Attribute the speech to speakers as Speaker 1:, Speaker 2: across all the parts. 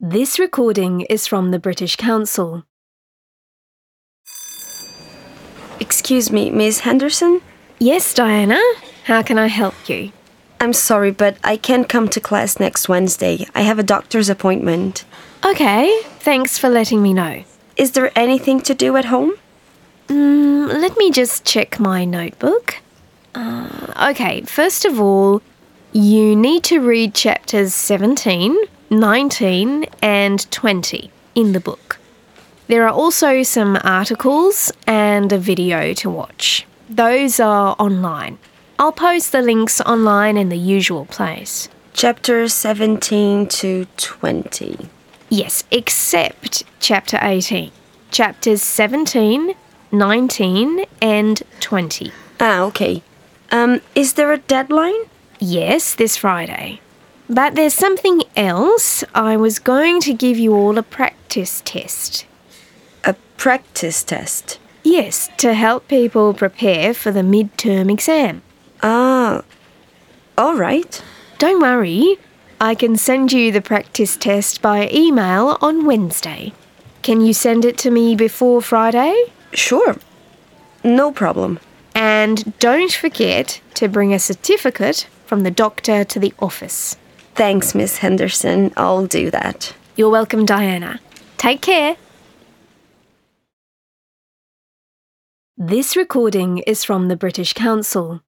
Speaker 1: This recording is from the British Council.
Speaker 2: Excuse me, Miss Henderson?
Speaker 1: Yes, Diana, how can I help you?
Speaker 2: I'm sorry, but I can't come to class next Wednesday. I have a doctor's appointment.
Speaker 1: Okay, thanks for letting me know.
Speaker 2: Is there anything to do at home?
Speaker 1: Mm, let me just check my notebook. Uh, okay, first of all, you need to read chapters 17, 19, and 20 in the book. There are also some articles and a video to watch. Those are online. I'll post the links online in the usual place.
Speaker 2: Chapter 17 to 20.
Speaker 1: Yes, except chapter 18. Chapters 17, 19, and 20.
Speaker 2: Ah, okay. Um, is there a deadline?
Speaker 1: Yes, this Friday. But there's something else. I was going to give you all a practice test.
Speaker 2: A practice test.
Speaker 1: Yes, to help people prepare for the midterm exam.
Speaker 2: Ah, all right.
Speaker 1: Don't worry, I can send you the practice test by email on Wednesday. Can you send it to me before Friday?
Speaker 2: Sure. No problem.
Speaker 1: And don't forget to bring a certificate from the doctor to the office.
Speaker 2: Thanks, Miss Henderson. I'll do that.
Speaker 1: You're welcome, Diana. Take care. This recording is from the British Council.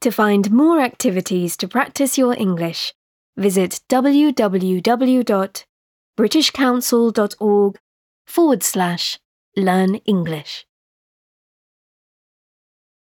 Speaker 1: To find more activities to practice your English, visit www.britishcouncil.org forward slash learn English.